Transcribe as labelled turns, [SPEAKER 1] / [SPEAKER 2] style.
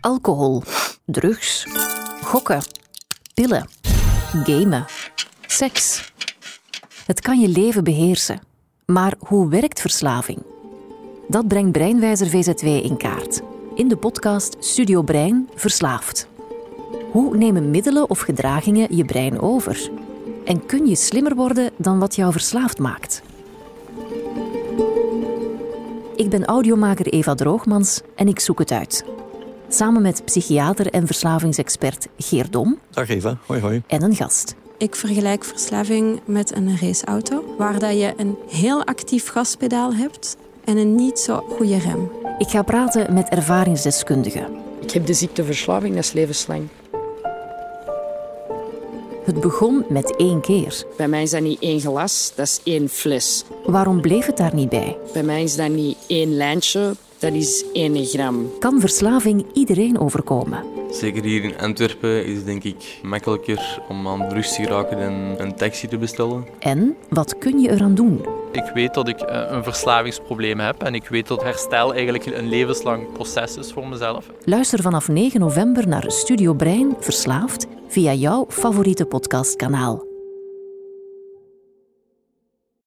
[SPEAKER 1] alcohol, drugs, gokken, pillen, gamen, seks. Het kan je leven beheersen. Maar hoe werkt verslaving? Dat brengt Breinwijzer VZW in kaart. In de podcast Studio Brein Verslaafd. Hoe nemen middelen of gedragingen je brein over? En kun je slimmer worden dan wat jou verslaafd maakt? Ik ben audiomaker Eva Droogmans en ik zoek het uit. Samen met psychiater en verslavingsexpert Geer Dom
[SPEAKER 2] Dag Eva, hoi hoi.
[SPEAKER 1] en een gast.
[SPEAKER 3] Ik vergelijk verslaving met een raceauto, waar dat je een heel actief gaspedaal hebt en een niet zo goede rem.
[SPEAKER 1] Ik ga praten met ervaringsdeskundigen.
[SPEAKER 4] Ik heb de ziekte verslaving, dat is levenslang.
[SPEAKER 1] Het begon met één keer.
[SPEAKER 4] Bij mij is dat niet één glas, dat is één fles.
[SPEAKER 1] Waarom bleef het daar niet bij?
[SPEAKER 4] Bij mij is dat niet één lijntje, dat is één gram.
[SPEAKER 1] Kan verslaving iedereen overkomen?
[SPEAKER 5] Zeker hier in Antwerpen is het denk ik makkelijker om aan drugs te geraken dan een taxi te bestellen.
[SPEAKER 1] En wat kun je eraan doen?
[SPEAKER 6] Ik weet dat ik eh, een verslavingsprobleem heb en ik weet dat herstel eigenlijk een levenslang proces is voor mezelf.
[SPEAKER 1] Luister vanaf 9 november naar Studio Brein Verslaafd via jouw favoriete podcastkanaal.